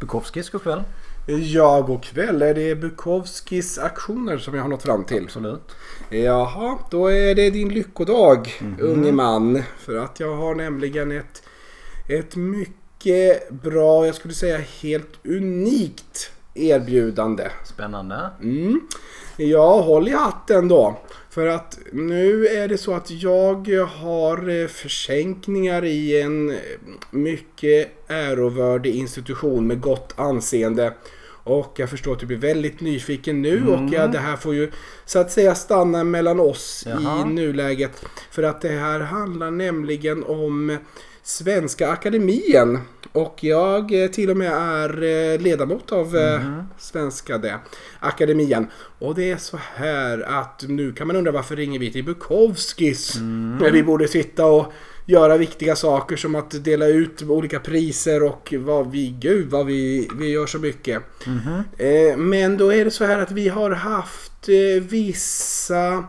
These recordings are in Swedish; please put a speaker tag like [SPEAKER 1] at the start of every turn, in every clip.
[SPEAKER 1] Bukowskis god kväll.
[SPEAKER 2] Ja, god kväll. Är det Bukowskis aktioner som jag har nått fram till?
[SPEAKER 1] Absolut.
[SPEAKER 2] Jaha, då är det din lyckodag unge man. För att jag har nämligen ett, ett mycket bra, jag skulle säga helt unikt erbjudande.
[SPEAKER 1] Spännande.
[SPEAKER 2] Mm. Ja, håll i hatten då. För att nu är det så att jag har eh, försänkningar i en eh, mycket ärovördig institution med gott anseende. Och jag förstår att du blir väldigt nyfiken nu och ja, det här får ju så att säga stanna mellan oss
[SPEAKER 1] Jaha.
[SPEAKER 2] i nuläget. För att det här handlar nämligen om Svenska Akademien och jag eh, till och med är eh, ledamot av eh, Svenska det, Akademien. Och det är så här att nu kan man undra varför ringer vi till Bukowskis? När vi borde sitta och göra viktiga saker som att dela ut olika priser och vad vi, gud vad vi, vi gör så mycket. Eh, Men då är det så här att vi har haft eh, vissa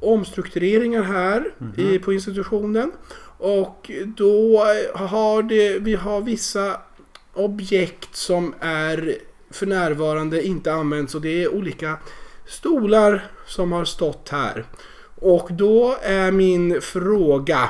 [SPEAKER 2] omstruktureringar här i, på institutionen. Och då har det, vi har vissa objekt som är för närvarande inte används och det är olika stolar som har stått här. Och då är min fråga.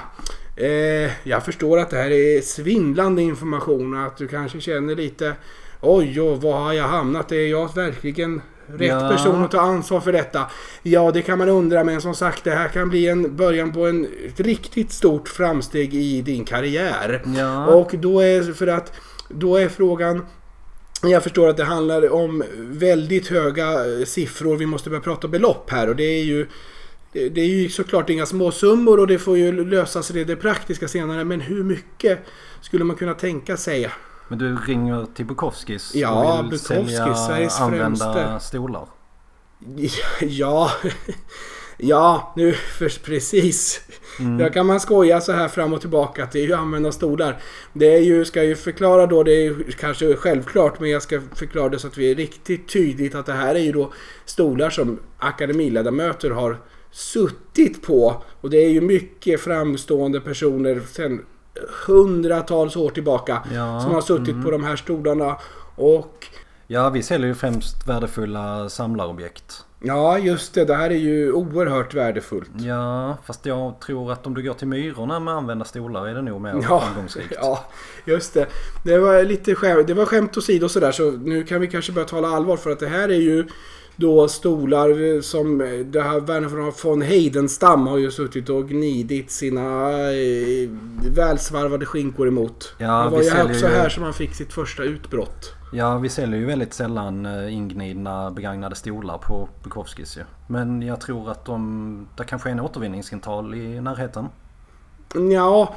[SPEAKER 2] Eh, jag förstår att det här är svindlande information och att du kanske känner lite Oj, och var har jag hamnat? Är jag verkligen rätt
[SPEAKER 1] Ja.
[SPEAKER 2] person att ta ansvar för detta? Ja, det kan man undra, men som sagt, det här kan bli en början på en, ett riktigt stort framsteg i din karriär.
[SPEAKER 1] Ja.
[SPEAKER 2] Och då är, för att, då är frågan jag förstår att det handlar om väldigt höga eh, siffror. Vi måste börja prata belopp här och det är ju det det är ju såklart inga småsummor och det får ju lösas i det praktiska senare. Men hur mycket skulle man kunna tänka sig?
[SPEAKER 1] Men du ringer till Bukowskis
[SPEAKER 2] Ja,
[SPEAKER 1] och vill
[SPEAKER 2] Bukowskis,
[SPEAKER 1] sälja
[SPEAKER 2] Sveriges
[SPEAKER 1] använda
[SPEAKER 2] främste.
[SPEAKER 1] stolar.
[SPEAKER 2] Ja, ja, nu för precis. Där kan man skoja så här fram och tillbaka att det är ju använda stolar. Det är ju, ska jag ju förklara då, det är ju kanske självklart men jag ska förklara det så att vi är riktigt tydligt att det här är ju då stolar som akademiledamöter har suttit på. Och det är ju mycket framstående personer sedan hundratals år tillbaka
[SPEAKER 1] Ja,
[SPEAKER 2] som har suttit på de här stolarna. Och
[SPEAKER 1] Ja, vi säljer ju främst värdefulla samlarobjekt.
[SPEAKER 2] ja, just det, det här är ju oerhört värdefullt.
[SPEAKER 1] Ja, fast jag tror att om du går till Myrorna med använda stolar är det nog mer
[SPEAKER 2] Ja,
[SPEAKER 1] framgångsrikt.
[SPEAKER 2] ja, just det. Det var lite skämt, det var skämt åsido sådär så nu kan vi kanske börja tala allvar för att det här är ju då stolar som eh, det här Werner von Heidenstam har ju suttit och gnidit sina eh, välsvarvade skinkor emot.
[SPEAKER 1] Ja,
[SPEAKER 2] det var
[SPEAKER 1] vi
[SPEAKER 2] ju
[SPEAKER 1] säljer
[SPEAKER 2] också
[SPEAKER 1] ju-
[SPEAKER 2] här som han fick sitt första utbrott.
[SPEAKER 1] Ja, vi säljer ju väldigt sällan eh, ingnidna begagnade stolar på Bukowskis ju. Men jag tror att de, det kanske är en återvinningsintal i närheten.
[SPEAKER 2] Ja,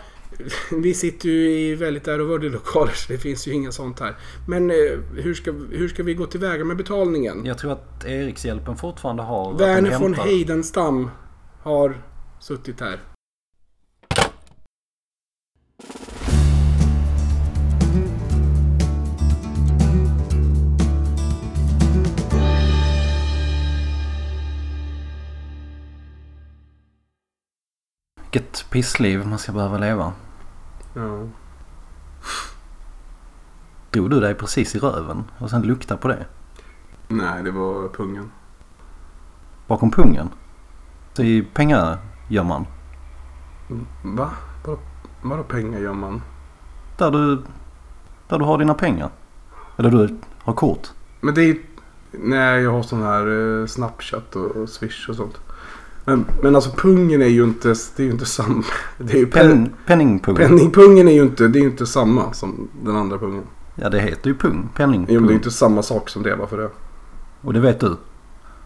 [SPEAKER 2] vi sitter ju i väldigt ärovördiga lokaler så det finns ju inga sånt här. Men eh, hur ska, hur ska vi gå tillväga med betalningen?
[SPEAKER 1] Jag tror att Erikshjälpen fortfarande har... att de
[SPEAKER 2] Werner von
[SPEAKER 1] hämtar-
[SPEAKER 2] Heidenstam har suttit här.
[SPEAKER 1] Vilket pissliv man ska behöva leva.
[SPEAKER 2] Ja.
[SPEAKER 1] Drog du dig precis i röven och sen lukta på det?
[SPEAKER 2] Nej, det var pungen.
[SPEAKER 1] Bakom pungen? Så i pengar gör man. Mm.
[SPEAKER 2] Va? Vadå, vadå pengar gör man?
[SPEAKER 1] Där du, där du har dina pengar. Eller du har kort.
[SPEAKER 2] Men det är ju- Nej, jag har sån här eh, Snapchat och, och Swish och sånt. Men, men alltså pungen är ju inte... Det är ju inte samma. Det är ju pen,
[SPEAKER 1] Pen, penningpung.
[SPEAKER 2] penningpungen är ju inte, det är ju inte samma som den andra pungen.
[SPEAKER 1] Ja det heter ju pung. Penningpung.
[SPEAKER 2] Jo, men det är ju inte samma sak som det var för det.
[SPEAKER 1] Och det vet du.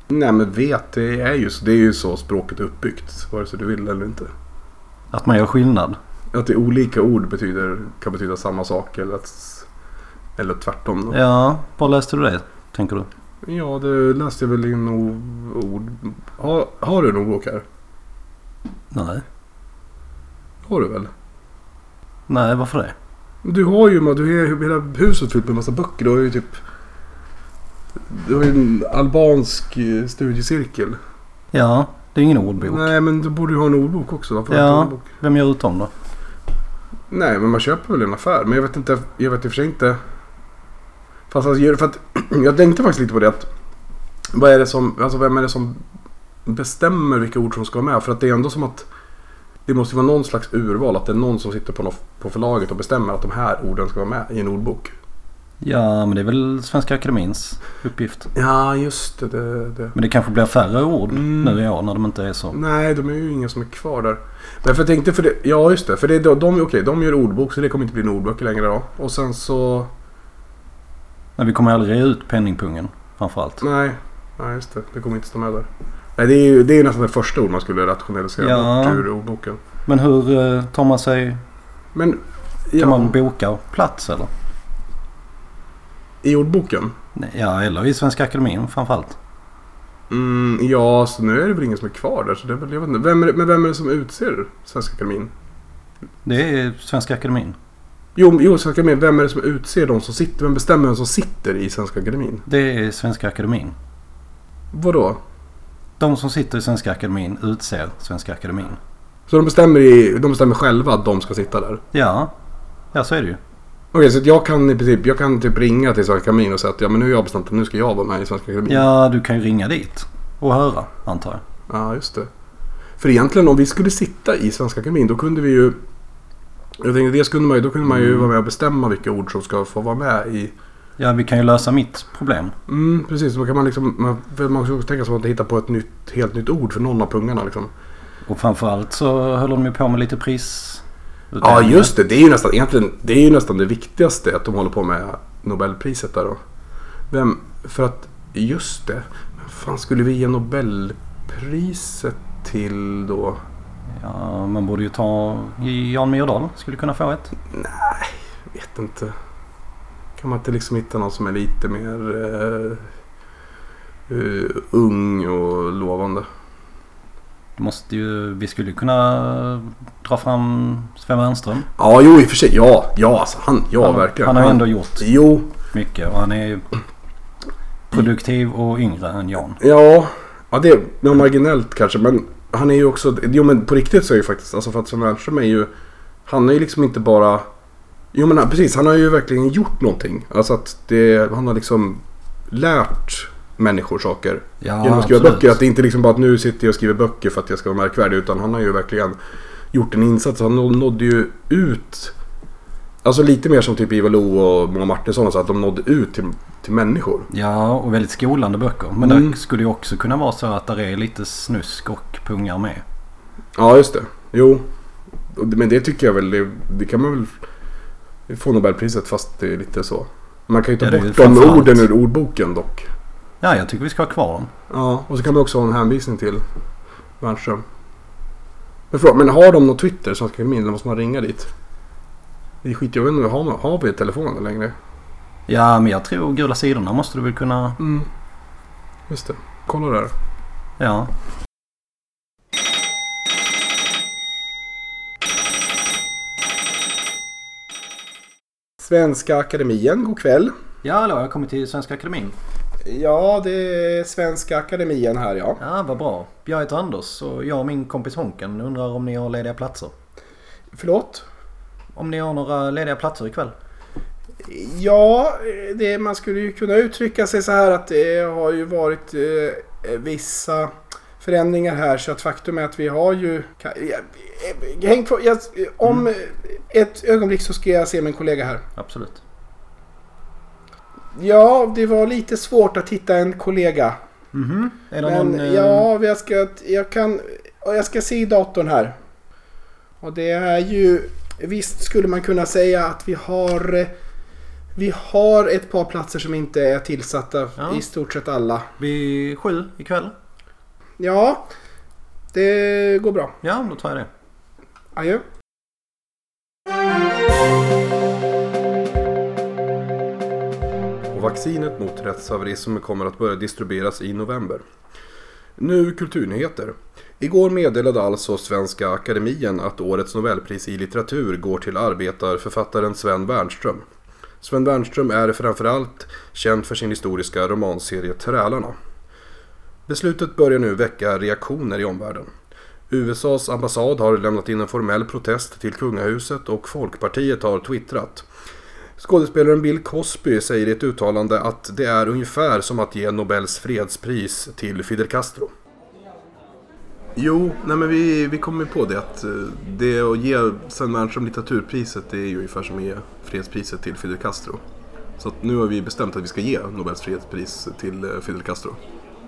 [SPEAKER 2] Nej, men vet, det är ju så, det är ju så språket är uppbyggt. Vare sig du vill eller inte.
[SPEAKER 1] Att man gör skillnad.
[SPEAKER 2] Att det är olika ord betyder, kan betyda samma sak eller, att, eller tvärtom. Då.
[SPEAKER 1] Ja, var läste du det? Tänker du?
[SPEAKER 2] Ja, det läste jag väl in o- ord. Har, har du en ordbok här?
[SPEAKER 1] Nej.
[SPEAKER 2] Har du väl?
[SPEAKER 1] Nej, varför det?
[SPEAKER 2] Du har ju, ma- du har ju hela huset fyllt med massa böcker. Du har ju typ... Du har ju en albansk eh, studiecirkel.
[SPEAKER 1] Ja, det är ingen ordbok.
[SPEAKER 2] Nej, men du borde ju ha en ordbok också. Varför har du inte en
[SPEAKER 1] ja,
[SPEAKER 2] ordbok?
[SPEAKER 1] vem gör ut dem då?
[SPEAKER 2] Nej, men man köper väl i en affär. Men jag vet inte, jag vet i och för sig inte. Fast alltså, gör- för att, jag tänkte faktiskt lite på det. Att, vad är det som, alltså, vem är det som bestämmer vilka ord som ska vara med? För att det är ändå som att det måste ju vara någon slags urval. Att det är någon som sitter på, något, på förlaget och bestämmer att de här orden ska vara med i en ordbok.
[SPEAKER 1] Ja, men det är väl Svenska Akademins uppgift.
[SPEAKER 2] Ja, just det. det, det.
[SPEAKER 1] Men det kanske blir färre ord
[SPEAKER 2] Mm.
[SPEAKER 1] nu i år när de inte är så.
[SPEAKER 2] Nej, de är ju inga som är kvar där. Därför jag tänkte, för det, ja just det, för det, är då- de, okay, de gör ordbok så det kommer inte bli en ordbok längre då. Och sen så,
[SPEAKER 1] Men vi kommer aldrig ut penningpungen framförallt.
[SPEAKER 2] nej, nej just det, det kommer inte stå med där. Nej, det är ju, det är ju nästan det första ord man skulle rationalisera
[SPEAKER 1] Ja.
[SPEAKER 2] bort ur ordboken.
[SPEAKER 1] Men hur eh, tar man sig?
[SPEAKER 2] Men
[SPEAKER 1] Kan
[SPEAKER 2] ja,
[SPEAKER 1] man boka plats eller?
[SPEAKER 2] i ordboken?
[SPEAKER 1] Nej, Ja, eller i Svenska Akademin framförallt.
[SPEAKER 2] Mm, ja, så nu är det väl ingen som är kvar där. Så det är väl, jag vet inte. Vem är, det- men vem är det som utser Svenska Akademien?
[SPEAKER 1] Det är Svenska Akademin.
[SPEAKER 2] Jo, jo Svenska Akademien, vem är det som utser de som sitter? Vem bestämmer vem som sitter i Svenska Akademien?
[SPEAKER 1] Det är Svenska Akademin.
[SPEAKER 2] Vadå?
[SPEAKER 1] De som sitter i Svenska Akademin utser Svenska Akademin.
[SPEAKER 2] Så de bestämmer, i, de bestämmer själva att de ska sitta där?
[SPEAKER 1] Ja, ja så är det ju.
[SPEAKER 2] Okej, så att jag kan i princip jag kan typ ringa till Svenska Akademin och säga att ja, men nu har jag bestämt att nu ska jag vara med i Svenska Akademin.
[SPEAKER 1] Ja, du kan ju ringa dit och höra antar jag.
[SPEAKER 2] ja, just det. För egentligen om vi skulle sitta i Svenska Akademin då kunde vi ju... Jag tänkte det kunde man ju, då kunde man ju
[SPEAKER 1] Mm.
[SPEAKER 2] vara med och bestämma vilka ord som ska få vara med i...
[SPEAKER 1] Ja, vi kan ju lösa mitt problem.
[SPEAKER 2] Mm, precis. Då kan man liksom... Man, för man kan också tänka sig att hitta på ett nytt, helt nytt ord för någon av pungarna liksom.
[SPEAKER 1] Och framförallt så höll de ju på med lite pris.
[SPEAKER 2] Ja, just det. Det är ju nästan, egentligen, det, är ju nästan det viktigaste att de håller på med Nobelpriset där då. Vem, för att, just det. Vem fan skulle vi ge Nobelpriset till då?
[SPEAKER 1] Ja, man borde ju ta Jan Myrdal. Skulle kunna få ett.
[SPEAKER 2] Jag vet inte. Kan man inte liksom hitta någon som är lite mer eh, eh, ung och lovande?
[SPEAKER 1] Du måste ju, vi skulle ju kunna dra fram Sven Wernström.
[SPEAKER 2] Ja, jo i och för sig. Ja, ja alltså han, ja
[SPEAKER 1] han,
[SPEAKER 2] verkligen.
[SPEAKER 1] Han har ju ändå gjort
[SPEAKER 2] Jo,
[SPEAKER 1] mycket och han är ju produktiv och yngre än Jan.
[SPEAKER 2] Ja, ja det är ja, marginellt kanske. Men han är ju också... Jo men på riktigt så är ju faktiskt... Alltså för att Sven Wernström är ju... Han är ju liksom inte bara... Jo men han- precis, han har ju verkligen gjort någonting. Alltså att det, han har liksom lärt människor saker.
[SPEAKER 1] Ja,
[SPEAKER 2] genom att skriva
[SPEAKER 1] absolut.
[SPEAKER 2] böcker. Att det inte liksom bara att nu sitter jag och skriver böcker för att jag ska vara märkvärdig. Utan han har ju verkligen gjort en insats. Han nå- nådde ju ut. Alltså lite mer som typ Ivar Lo och Moa Martinsson. Alltså att de nådde ut till, till människor.
[SPEAKER 1] Ja, och väldigt skolande böcker. Men
[SPEAKER 2] Mm.
[SPEAKER 1] det skulle ju också kunna vara så att där är lite snusk och pungar med.
[SPEAKER 2] Ja, just det. Jo. Och det- Men det tycker jag väl, det, det kan man väl få Nobelpriset fast det är lite så. Man kan ju ta
[SPEAKER 1] Ja, det är
[SPEAKER 2] bort
[SPEAKER 1] ju
[SPEAKER 2] de
[SPEAKER 1] framförallt.
[SPEAKER 2] orden ur ordboken dock.
[SPEAKER 1] Ja, jag tycker vi ska ha kvar dem.
[SPEAKER 2] Ja, och så kan man också ha en hänvisning till Wernström. Men, fråga, men har de något Twitter, Svenska Akademien, eller måste man ringa dit? Det är skit, jag vet inte, har, man- har vi telefonen längre?
[SPEAKER 1] Ja, men jag tror gula sidorna måste du väl kunna...
[SPEAKER 2] Mm. Just det, kolla där.
[SPEAKER 1] Ja.
[SPEAKER 2] Svenska Akademien, god kväll.
[SPEAKER 1] Ja, hallå, jag har kommit till Svenska Akademin.
[SPEAKER 2] Ja, det är Svenska Akademien här ja.
[SPEAKER 1] Ja, vad bra. Jag heter Anders och jag och min kompis Honken undrar om ni har lediga platser.
[SPEAKER 2] Förlåt?
[SPEAKER 1] Om ni har några lediga platser ikväll?
[SPEAKER 2] Ja, eh, det, man skulle ju kunna uttrycka sig så här att det har ju varit eh, vissa förändringar här så att faktum är att vi har ju... ka- ja, eh, Häng kvar, jag, om eh, ett ögonblick så ska jag se min kollega här.
[SPEAKER 1] Absolut.
[SPEAKER 2] Ja, det var lite svårt att hitta en kollega.
[SPEAKER 1] Mhm. Är det
[SPEAKER 2] Men
[SPEAKER 1] någon... eh,
[SPEAKER 2] ja, jag ska, jag, kan, och jag ska se i datorn här. Och det är ju... Visst skulle man kunna säga att vi har... eh, Vi har ett par platser som inte är tillsatta
[SPEAKER 1] Ja.
[SPEAKER 2] i stort sett alla.
[SPEAKER 1] Vid sju ikväll?
[SPEAKER 2] Ja, det går bra.
[SPEAKER 1] Ja, då tar jag det.
[SPEAKER 2] Adjö. Och vaccinet mot rättshaverism kommer att börja distribueras i november. Nu kulturnyheter. Igår meddelade alltså Svenska Akademien att årets Nobelpris i litteratur går till arbetarförfattaren Sven Wernström. Sven Wernström är framförallt känd för sin historiska romanserie Trälarna. Beslutet börjar nu väcka reaktioner i omvärlden. USAs ambassad har lämnat in en formell protest till kungahuset och Folkpartiet har twittrat.
[SPEAKER 3] Skådespelaren Bill Cosby säger i ett uttalande att det är ungefär som att ge Nobels fredspris till Fidel Castro.
[SPEAKER 2] Jo, nej men vi, vi kom ju på det att eh, det att ge Sven Wernström litteraturpriset det är ju ungefär som att ge fredspriset till Fidel Castro. Så att nu har vi bestämt att vi ska ge Nobels fredspris till eh, Fidel Castro.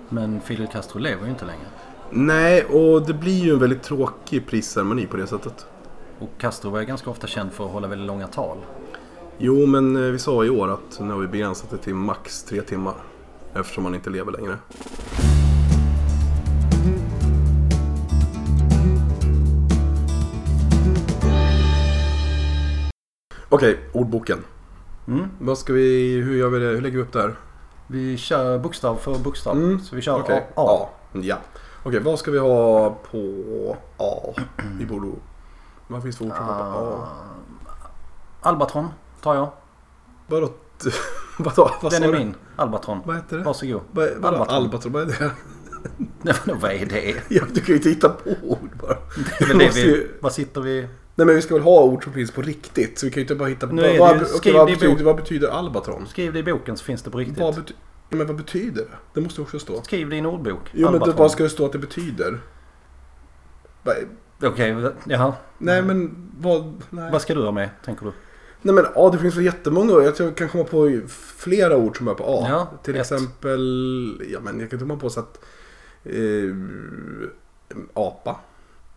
[SPEAKER 1] Men Fidel Castro lever ju inte längre.
[SPEAKER 2] Nej, och det blir ju en väldigt tråkig prisceremoni på det sättet.
[SPEAKER 1] Och Castro var ju ganska ofta känd för att hålla väldigt långa tal.
[SPEAKER 2] Jo, men eh, vi sa i år att nu har vi begränsat det till max tre timmar. Eftersom han inte lever längre. Okej, ordboken.
[SPEAKER 1] Mm.
[SPEAKER 2] Vad ska vi, hur gör vi det? Hur lägger vi upp det här?
[SPEAKER 1] Vi kör bokstav för bokstav.
[SPEAKER 2] Mm.
[SPEAKER 1] Så vi kör
[SPEAKER 2] Okej,
[SPEAKER 1] A. A.
[SPEAKER 2] Ja. Okej, vad ska vi ha på A? Vi borde... Vad finns det för ord som går på A?
[SPEAKER 1] Ah. Albatron tar jag.
[SPEAKER 2] Vadå? Vadå? Vad
[SPEAKER 1] Den
[SPEAKER 2] sa
[SPEAKER 1] är
[SPEAKER 2] du?
[SPEAKER 1] min. Albatron.
[SPEAKER 2] Vad heter det?
[SPEAKER 1] Varsågod.
[SPEAKER 2] Vad, vadå?
[SPEAKER 1] Albatron.
[SPEAKER 2] Albatron, vad är det?
[SPEAKER 1] Nej, vadå, vad är det?
[SPEAKER 2] Ja, du kan ju inte hitta på ord bara.
[SPEAKER 1] det, är väl
[SPEAKER 2] Vi
[SPEAKER 1] det
[SPEAKER 2] måste
[SPEAKER 1] vi,
[SPEAKER 2] ju-
[SPEAKER 1] vad sitter vi...
[SPEAKER 2] Nej men vi ska väl ha ord som finns på riktigt. Så vi kan ju inte bara hitta på...
[SPEAKER 1] Nu är det
[SPEAKER 2] Vad,
[SPEAKER 1] ju-
[SPEAKER 2] okej,
[SPEAKER 1] skriv
[SPEAKER 2] vad,
[SPEAKER 1] det i
[SPEAKER 2] betyder,
[SPEAKER 1] bok.
[SPEAKER 2] vad betyder albatron?
[SPEAKER 1] Skriv det i boken så finns det på riktigt.
[SPEAKER 2] Vad bety- ja, men vad betyder det? Det måste också stå.
[SPEAKER 1] Skriv det i en ordbok.
[SPEAKER 2] Jo men det,
[SPEAKER 1] Albatron.
[SPEAKER 2] vad ska det stå att det betyder? Vad-
[SPEAKER 1] Okej, jaha.
[SPEAKER 2] Nej men vad... Nej.
[SPEAKER 1] Mm. Vad ska du ha med, tänker du?
[SPEAKER 2] Nej men A, det finns väl jättemånga ord. Jag tror jag kan komma på flera ord som börjar på A.
[SPEAKER 1] Ja,
[SPEAKER 2] Till
[SPEAKER 1] ett.
[SPEAKER 2] exempel, ja men jag kan komma på så att... Eh, apa.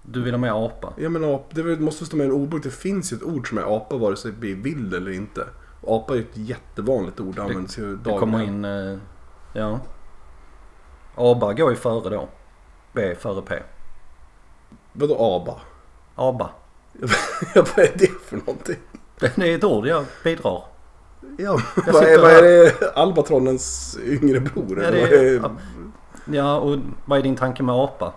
[SPEAKER 1] Du vill ha med apa.
[SPEAKER 2] Ja men apa, det är väl- måste stå med en ordbok. Det finns ju ett ord som är apa vare sig vi vill eller inte. Apa är ju ett jättevanligt ord, det används ju
[SPEAKER 1] Det
[SPEAKER 2] dagligen.
[SPEAKER 1] kommer in... eh, Ja. Aba går ju före då. B före P.
[SPEAKER 2] Vadå aba?
[SPEAKER 1] Aba.
[SPEAKER 2] Ja, vad är det för någonting?
[SPEAKER 1] Det är ett ord jag bidrar.
[SPEAKER 2] Ja,
[SPEAKER 1] Jag
[SPEAKER 2] vad, är,
[SPEAKER 1] sitter
[SPEAKER 2] vad
[SPEAKER 1] här.
[SPEAKER 2] är det? Albatronens yngre bror?
[SPEAKER 1] Ja,
[SPEAKER 2] eller
[SPEAKER 1] det
[SPEAKER 2] vad
[SPEAKER 1] är, ja, och vad är din tanke med apa?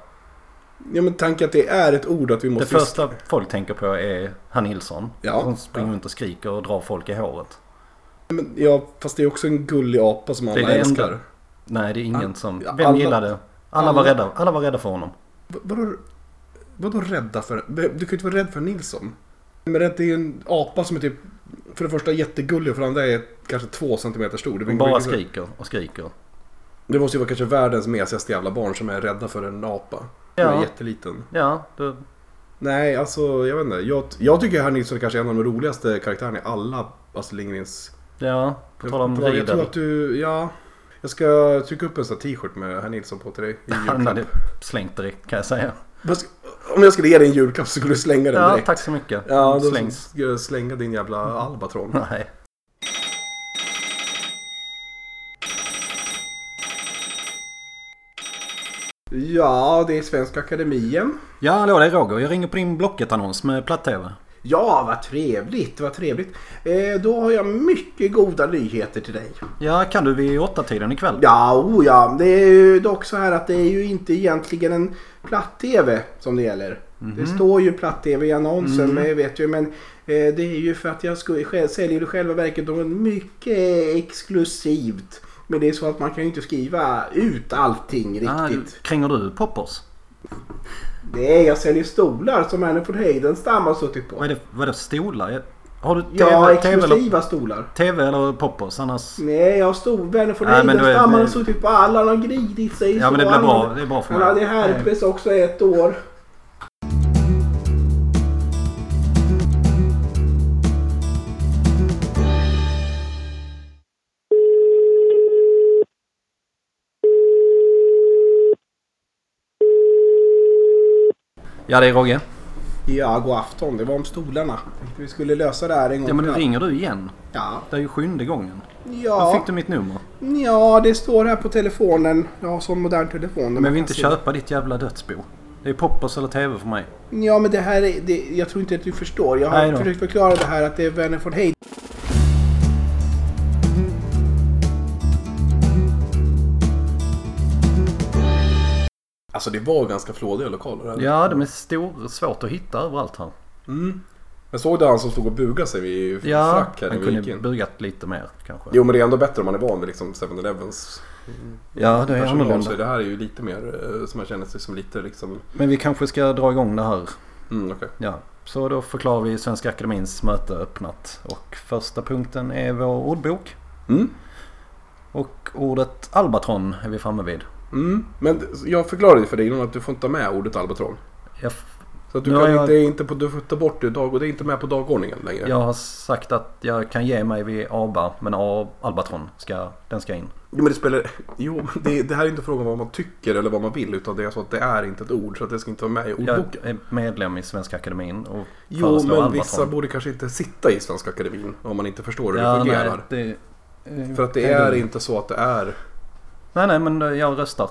[SPEAKER 2] ja men tanken att det är ett ord att vi
[SPEAKER 1] Det
[SPEAKER 2] måste...
[SPEAKER 1] första folk tänker på är Herr Nilsson.
[SPEAKER 2] Ja.
[SPEAKER 1] Som springer runt och skriker och drar folk i håret.
[SPEAKER 2] Men, ja, fast det är också en gullig apa som
[SPEAKER 1] Det är
[SPEAKER 2] alla
[SPEAKER 1] det enda.
[SPEAKER 2] älskar.
[SPEAKER 1] Nej, det är ingen som...
[SPEAKER 2] ja,
[SPEAKER 1] Vem
[SPEAKER 2] alla-
[SPEAKER 1] gillade? Alla var,
[SPEAKER 2] alla-
[SPEAKER 1] rädda, alla var rädda för honom.
[SPEAKER 2] V- Vadå, vadå rädda för? Du kan ju inte vara rädd för Nilsson. Men det är ju en apa som är typ för det första jättegullig och för det andra är kanske två centimeter stor. Det,
[SPEAKER 1] De
[SPEAKER 2] är-
[SPEAKER 1] bara skriker och skriker.
[SPEAKER 2] det måste ju vara kanske världens mesigaste jävla barn som är rädda för en apa. Ja. Den är
[SPEAKER 1] Ja.
[SPEAKER 2] jätteliten.
[SPEAKER 1] Ja, det,
[SPEAKER 2] Nej, alltså jag vet inte. Jag, jag tycker herr Nilsson är kanske en av de roligaste karaktärerna i alla Astrid Lindgrens...
[SPEAKER 1] ja på tal om
[SPEAKER 2] jag, jag tror
[SPEAKER 1] Riedel.
[SPEAKER 2] att du, ja. Jag ska trycka upp en sån här t-shirt med herr Nilsson på till dig. i
[SPEAKER 1] Han
[SPEAKER 2] julklapp.
[SPEAKER 1] hade slängt direkt kan jag säga.
[SPEAKER 2] Vad ska- Om jag skulle ge dig en julklapp så skulle du slänga den
[SPEAKER 1] Ja,
[SPEAKER 2] direkt.
[SPEAKER 1] tack så mycket.
[SPEAKER 2] Ja, då
[SPEAKER 1] Slängs.
[SPEAKER 2] ska jag eh, slänga din jävla albatron.
[SPEAKER 1] Nej.
[SPEAKER 3] Ja, det är Svenska Akademien.
[SPEAKER 1] Ja, hallå det är Roger. Jag ringer på din Blocket-annons med platt-tv.
[SPEAKER 3] Ja, vad trevligt, vad trevligt. Eh, då har jag mycket goda nyheter till dig.
[SPEAKER 1] Ja, kan du vid åttatiden ikväll?
[SPEAKER 3] Ja, oh ja. Det är ju dock så här att det är ju inte egentligen en platt-tv som det gäller. Det
[SPEAKER 2] Mhm.
[SPEAKER 3] står ju platt-tv i annonsen, men jag vet ju. Men eh, det är ju för att jag sku- själv, säljer i själva verket något mycket exklusivt. Men det är så att man kan ju inte skriva ut allting
[SPEAKER 1] Ah, du-
[SPEAKER 3] riktigt.
[SPEAKER 1] kränger du poppers?
[SPEAKER 3] Nej, jag säljer stolar som Anne von Heidenstam har suttit på.
[SPEAKER 1] Vad är det, vad är det för stolar? Jag- Har du TV,
[SPEAKER 3] Ja,
[SPEAKER 1] TV, eller,
[SPEAKER 3] exklusiva stolar.
[SPEAKER 1] TV eller poppers? Annars...
[SPEAKER 3] Nej, jag har storvänner från
[SPEAKER 1] Nej, men då är
[SPEAKER 3] Heidenstam. Han har
[SPEAKER 1] det-
[SPEAKER 3] suttit på alla. Han har gridit sig.
[SPEAKER 1] Ja, men det
[SPEAKER 3] så
[SPEAKER 1] blir
[SPEAKER 3] han-
[SPEAKER 1] bra. Det är bra för
[SPEAKER 3] Han
[SPEAKER 1] mig.
[SPEAKER 3] hade herpes också ett år.
[SPEAKER 1] Ja, det är Roger.
[SPEAKER 3] Ja, god afton. Det var om stolarna. Tänkte Vi skulle lösa det här en gång.
[SPEAKER 1] Ja, men nu
[SPEAKER 3] till.
[SPEAKER 1] ringer du igen.
[SPEAKER 3] ja.
[SPEAKER 1] Det är ju sjunde gången. Då
[SPEAKER 3] Ja.
[SPEAKER 1] fick du mitt nummer.
[SPEAKER 3] ja, det står här på telefonen. Jag har sån modern telefon.
[SPEAKER 1] Men jag vill inte köpa ditt jävla dödsbo. Det är poppers eller TV för mig.
[SPEAKER 3] Ja, men det här är... Det, jag tror inte att du förstår. Jag
[SPEAKER 1] Nej
[SPEAKER 3] har
[SPEAKER 1] då.
[SPEAKER 3] försökt förklara det här att det är Werner von Heiden.
[SPEAKER 2] Alltså det var ganska flådiga lokaler. Eller?
[SPEAKER 1] Ja, de är stor, svårt att hitta överallt här.
[SPEAKER 2] Mm. Jag såg det han som stod och bugade sig vid
[SPEAKER 1] Ja,
[SPEAKER 2] frack här när
[SPEAKER 1] han
[SPEAKER 2] vi gick
[SPEAKER 1] kunde
[SPEAKER 2] in.
[SPEAKER 1] bugat lite mer kanske.
[SPEAKER 2] Jo men det är ändå bättre om man är van vid liksom 7-Elevens
[SPEAKER 1] Ja, det är
[SPEAKER 2] personal.
[SPEAKER 1] annorlunda.
[SPEAKER 2] Så det här är ju lite mer eh, så man känner sig som lite liksom...
[SPEAKER 1] Men vi kanske ska dra igång det här.
[SPEAKER 2] Mm, okej.
[SPEAKER 1] Ja. Så då förklarar vi Svenska Akademins möte öppnat. Och första punkten är vår ordbok.
[SPEAKER 2] Mm.
[SPEAKER 1] Och ordet albatron är vi framme vid.
[SPEAKER 4] Mm.
[SPEAKER 2] Men jag förklarade ju för dig innan att du får inte ta med ordet albatron.
[SPEAKER 1] Jag, f-
[SPEAKER 2] Så att du
[SPEAKER 1] Ja,
[SPEAKER 2] kan
[SPEAKER 1] jag-
[SPEAKER 2] inte, inte på, du får ta bort det dag och det är inte med på dagordningen längre.
[SPEAKER 1] jag har sagt att jag kan ge mig vid ABA men A, albatron ska, den ska in.
[SPEAKER 2] Jo men det spelar... Jo men det, det här är inte frågan om vad man tycker eller vad man vill utan det är så att det är inte ett ord så att det ska inte vara med i ordboken.
[SPEAKER 1] Jag är medlem i Svenska Akademin och
[SPEAKER 2] Jo men
[SPEAKER 1] albatron.
[SPEAKER 2] vissa borde kanske inte sitta i Svenska Akademin om man inte förstår hur det
[SPEAKER 1] ja, nej, Mm.
[SPEAKER 2] fungerar.
[SPEAKER 1] det, eh,
[SPEAKER 2] För att det är inte så att det är...
[SPEAKER 1] Nej, nej, men eh, jag röstar.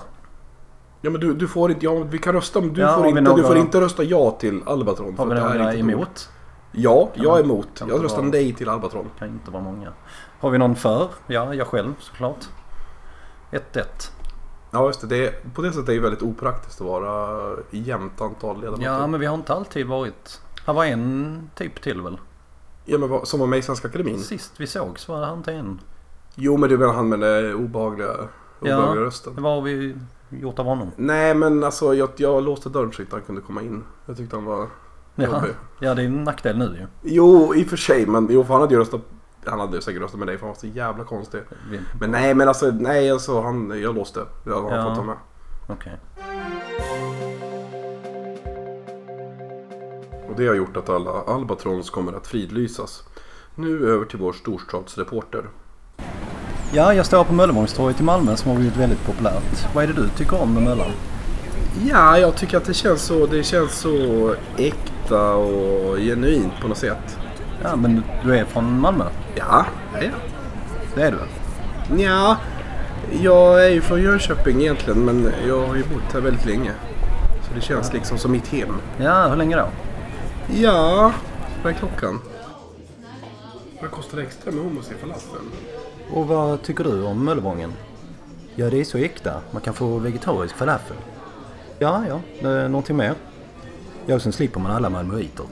[SPEAKER 2] Ja men du, du får inte... Ja, vi kan rösta men du,
[SPEAKER 1] Ja,
[SPEAKER 2] får,
[SPEAKER 1] har vi
[SPEAKER 2] inte, du
[SPEAKER 1] några-
[SPEAKER 2] får inte rösta ja till Albatron.
[SPEAKER 1] Har vi
[SPEAKER 2] att det är
[SPEAKER 1] några
[SPEAKER 2] inte ett ord.
[SPEAKER 1] emot?
[SPEAKER 2] Ja, jag är
[SPEAKER 1] man-
[SPEAKER 2] emot.
[SPEAKER 1] kan
[SPEAKER 2] Jag
[SPEAKER 1] inte
[SPEAKER 2] röstar
[SPEAKER 1] vara-
[SPEAKER 2] nej till Albatron.
[SPEAKER 1] Kan inte vara många. Har vi någon för? Ja, jag själv såklart. 1-1.
[SPEAKER 2] Ja just det, det är, på det sättet är det väldigt opraktiskt att vara i jämnt antal ledamöter.
[SPEAKER 1] Ja, men vi har inte alltid varit... Han var en typ till väl?
[SPEAKER 2] ja, men vad, som var med i Svenska Akademin.
[SPEAKER 1] Sist vi sågs var han till en.
[SPEAKER 2] Jo men du menar han med den obehagliga, obehagliga rösten.
[SPEAKER 1] Vad har vi gjort av honom?
[SPEAKER 2] Nej men alltså jag, jag låste dörren så inte han kunde komma in. Jag tyckte han var
[SPEAKER 1] Ja,
[SPEAKER 2] jobbig.
[SPEAKER 1] ja det är en nackdel nu ju.
[SPEAKER 2] Jo i och för sig men jo för han hade ju röstat. Han hade ju säkert röstat med dig för han var så jävla konstig.
[SPEAKER 1] Vi-
[SPEAKER 2] Men nej men alltså nej alltså han, jag låste. Jag har
[SPEAKER 1] Ja.
[SPEAKER 2] fått ta med.
[SPEAKER 1] Okej.
[SPEAKER 2] Och det har gjort att alla Albatrons kommer att fridlysas. Nu över till vår storstadsreporter.
[SPEAKER 1] Ja, jag står på Möllevångstorget i Malmö som har blivit väldigt populärt. Vad är det du tycker om med Möllan?
[SPEAKER 2] Ja, jag tycker att det känns så, det känns så äkta och genuint på något sätt.
[SPEAKER 1] Ja, men du är från Malmö.
[SPEAKER 2] Ja, ja, ja.
[SPEAKER 1] Det är du väl?
[SPEAKER 2] Nja, jag är ju från Jönköping egentligen men jag har ju bott här väldigt länge. Så det känns liksom som mitt hem.
[SPEAKER 1] Ja, hur länge då?
[SPEAKER 2] Ja, vad är klockan? Vad kostar det extra med hummus i falafeln?
[SPEAKER 1] Och vad tycker du om Möllevången? Ja, det är så äkta. Man kan få vegetarisk falafel. Ja, ja. Eh, Någonting mer? Ja, sen slipper man alla malmöiter.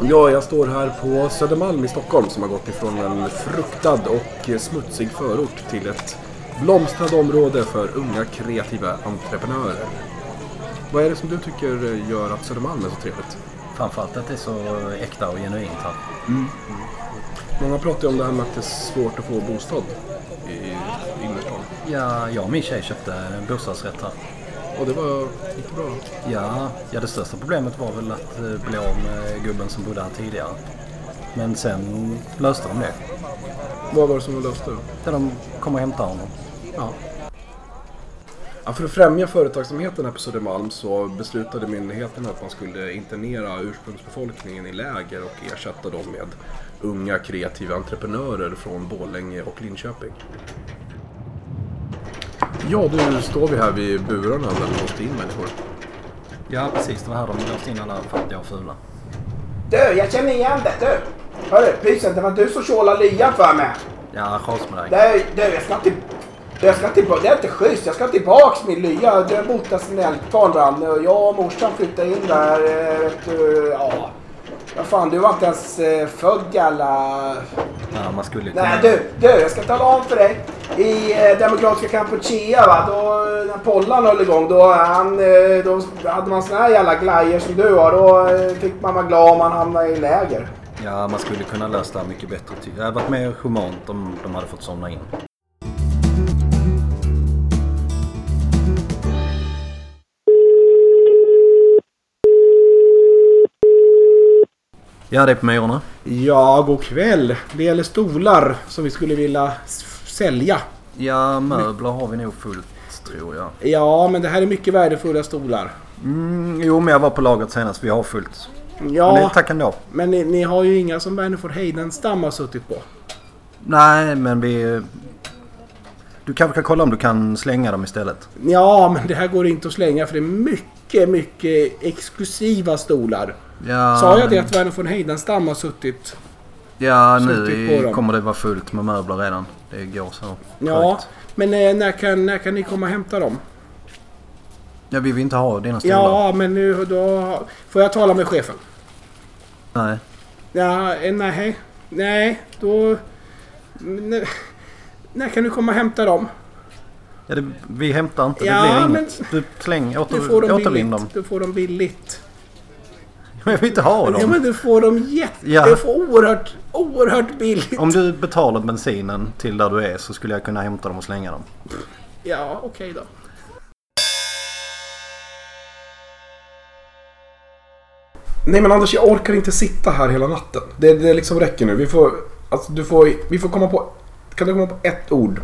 [SPEAKER 2] Ja, jag står här på Södermalm i Stockholm som har gått ifrån en fruktad och smutsig förort till ett blomstrande område för unga kreativa entreprenörer. Vad är det som du tycker gör att Södermalm är så trevligt?
[SPEAKER 1] Framförallt att det är så äkta och genuint här.
[SPEAKER 2] Många pratar ju om det här med att det är svårt att få bostad i innerstan.
[SPEAKER 1] Ja, jag och min tjej köpte en bostadsrätt här.
[SPEAKER 2] Och det var inte bra.
[SPEAKER 1] Ja, ja, det största problemet var väl att eh, bli av med gubben som bodde här tidigare. Men sen löste de det.
[SPEAKER 2] Vad var det som var löst då?
[SPEAKER 1] Där de kom och hämtade honom.
[SPEAKER 2] Ja. Ja, för att främja företagsamheten här på Södermalm så beslutade myndigheterna att man skulle internera ursprungsbefolkningen i läger och ersätta dem med unga kreativa entreprenörer från Borlänge och Linköping. Ja, nu står vi här vid burarna där de låste in människor.
[SPEAKER 1] Ja, precis. Det var här de låste in alla fattiga och fula.
[SPEAKER 4] Du, jag känner igen dig. Du. Hörru, pysen, det var du som tjålade lyan för mig.
[SPEAKER 1] Ja, ras med dig.
[SPEAKER 4] Du, du, jag ska till... Du, jag ska tillbaka, det är inte schysst. Jag ska tillbaks min lya. Du har bott där sen eldkvarn brann. Och Jag och morsan flyttade in där. eh, Vet du, ja. Vad fan, du var inte ens eh, född jävla...
[SPEAKER 1] Ja, man skulle ju kunna...
[SPEAKER 4] Nej du, du, jag ska tala om för dig. I eh, Demokratiska Kampuchea va, då eh, när Pollan höll igång då, han, eh, då hade man såna här jävla glajjor som du har. Då eh, fick man vara glad om man hamnade i läger.
[SPEAKER 1] Ja, man skulle kunna lösa det här mycket bättre. ty- Det hade varit mer humant om de hade fått somna in. Ja, det är på Myrorna.
[SPEAKER 4] Ja, god kväll. Det gäller stolar som vi skulle vilja s- sälja.
[SPEAKER 1] Ja, möbler har vi nog fullt tror jag.
[SPEAKER 4] Ja, men det här är mycket värdefulla stolar.
[SPEAKER 1] Mm, jo, men jag var på lagret senast. Vi har fullt. Men det,
[SPEAKER 4] Ja,
[SPEAKER 1] tack ändå.
[SPEAKER 4] men ni, ni har ju inga som Wernerford Heidenstam har suttit på.
[SPEAKER 1] Nej, men vi... Du kanske kan kolla om du kan slänga dem istället.
[SPEAKER 4] Ja, men det här går inte att slänga för det är mycket, mycket exklusiva stolar.
[SPEAKER 1] Ja,
[SPEAKER 4] Sa jag det att Werner von Heidenstam har suttit?
[SPEAKER 1] Ja,
[SPEAKER 4] Suttit på
[SPEAKER 1] nu
[SPEAKER 4] dem.
[SPEAKER 1] kommer det vara fullt med möbler redan. Det går så
[SPEAKER 4] Ja,
[SPEAKER 1] sjukt.
[SPEAKER 4] men eh, när kan, när kan ni komma och hämta dem?
[SPEAKER 1] Ja, vi vill inte ha dina stolar.
[SPEAKER 4] Ja, men nu då... Får jag tala med chefen?
[SPEAKER 1] Nej.
[SPEAKER 4] Ja, eh, nej. Nej, då... men, eh, När kan du komma och hämta dem?
[SPEAKER 1] Ja, det, vi hämtar inte.
[SPEAKER 4] Ja,
[SPEAKER 1] det blir
[SPEAKER 4] men-
[SPEAKER 1] inget. Du släng, åter,
[SPEAKER 4] Du får dem
[SPEAKER 1] återvinn
[SPEAKER 4] billigt.
[SPEAKER 1] dem.
[SPEAKER 4] Du får dem billigt.
[SPEAKER 1] Men jag vill inte ha
[SPEAKER 2] Ja,
[SPEAKER 1] dem.
[SPEAKER 2] men du får dem jätte...
[SPEAKER 1] Ja.
[SPEAKER 2] Du får oerhört, oerhört billigt.
[SPEAKER 1] Om du betalar bensinen till där du är så skulle jag kunna hämta dem och slänga dem.
[SPEAKER 2] Ja, okej då. Nej men Anders, jag orkar inte sitta här hela natten. Det, det liksom räcker nu. Vi får, alltså, du får, vi får komma på... Kan du komma på ett ord?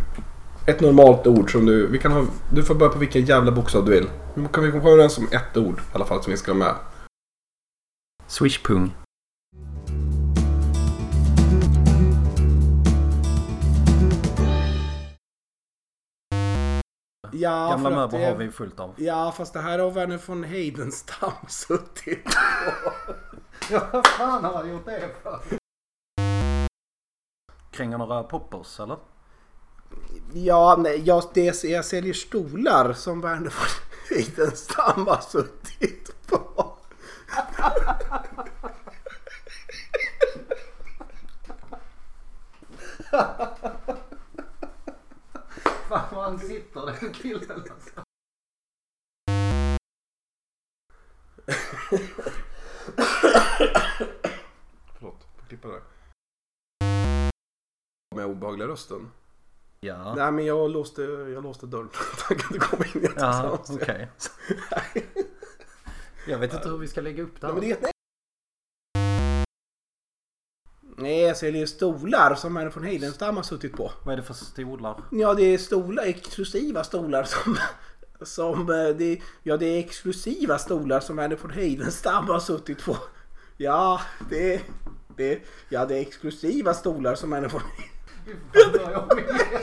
[SPEAKER 2] Ett normalt ord som du... Vi kan ha, du får börja på vilken jävla bokstav du vill. Men Kan vi komma överens om ett ord i alla fall som vi ska ha med?
[SPEAKER 1] Swishpung.
[SPEAKER 2] Ja,
[SPEAKER 1] Gamla möbler har vi ju fullt av.
[SPEAKER 2] Ja, fast det här har Werner von Heidenstam suttit
[SPEAKER 1] Ja, vad fan har han gjort det för? Kränger några poppers eller?
[SPEAKER 2] Ja, nej, jag, det, jag säljer stolar som Werner von Heidenstam har suttit på.
[SPEAKER 1] Fan vad han sitter den killen alltså.
[SPEAKER 2] Förlåt, får klippa det.
[SPEAKER 5] Med obehagliga rösten.
[SPEAKER 1] Ja.
[SPEAKER 2] Nej, men jag låste, jag låste dörren. Han kan inte komma in i ett
[SPEAKER 1] Ja,
[SPEAKER 2] sånt.
[SPEAKER 1] okej. Jag vet inte hur vi ska lägga upp det
[SPEAKER 2] Nej, men
[SPEAKER 1] här.
[SPEAKER 2] det är ett nej. Nej, jag säljer stolar som Werner von Heidenstam har suttit på.
[SPEAKER 1] Vad är det för stolar?
[SPEAKER 2] Ja, det är stolar, exklusiva stolar som... som eh, det, ja, det är exklusiva stolar som Werner von Heidenstam har suttit på. Ja, det, det, ja, det är exklusiva stolar som Werner von
[SPEAKER 1] Fy fan, vad jag vet.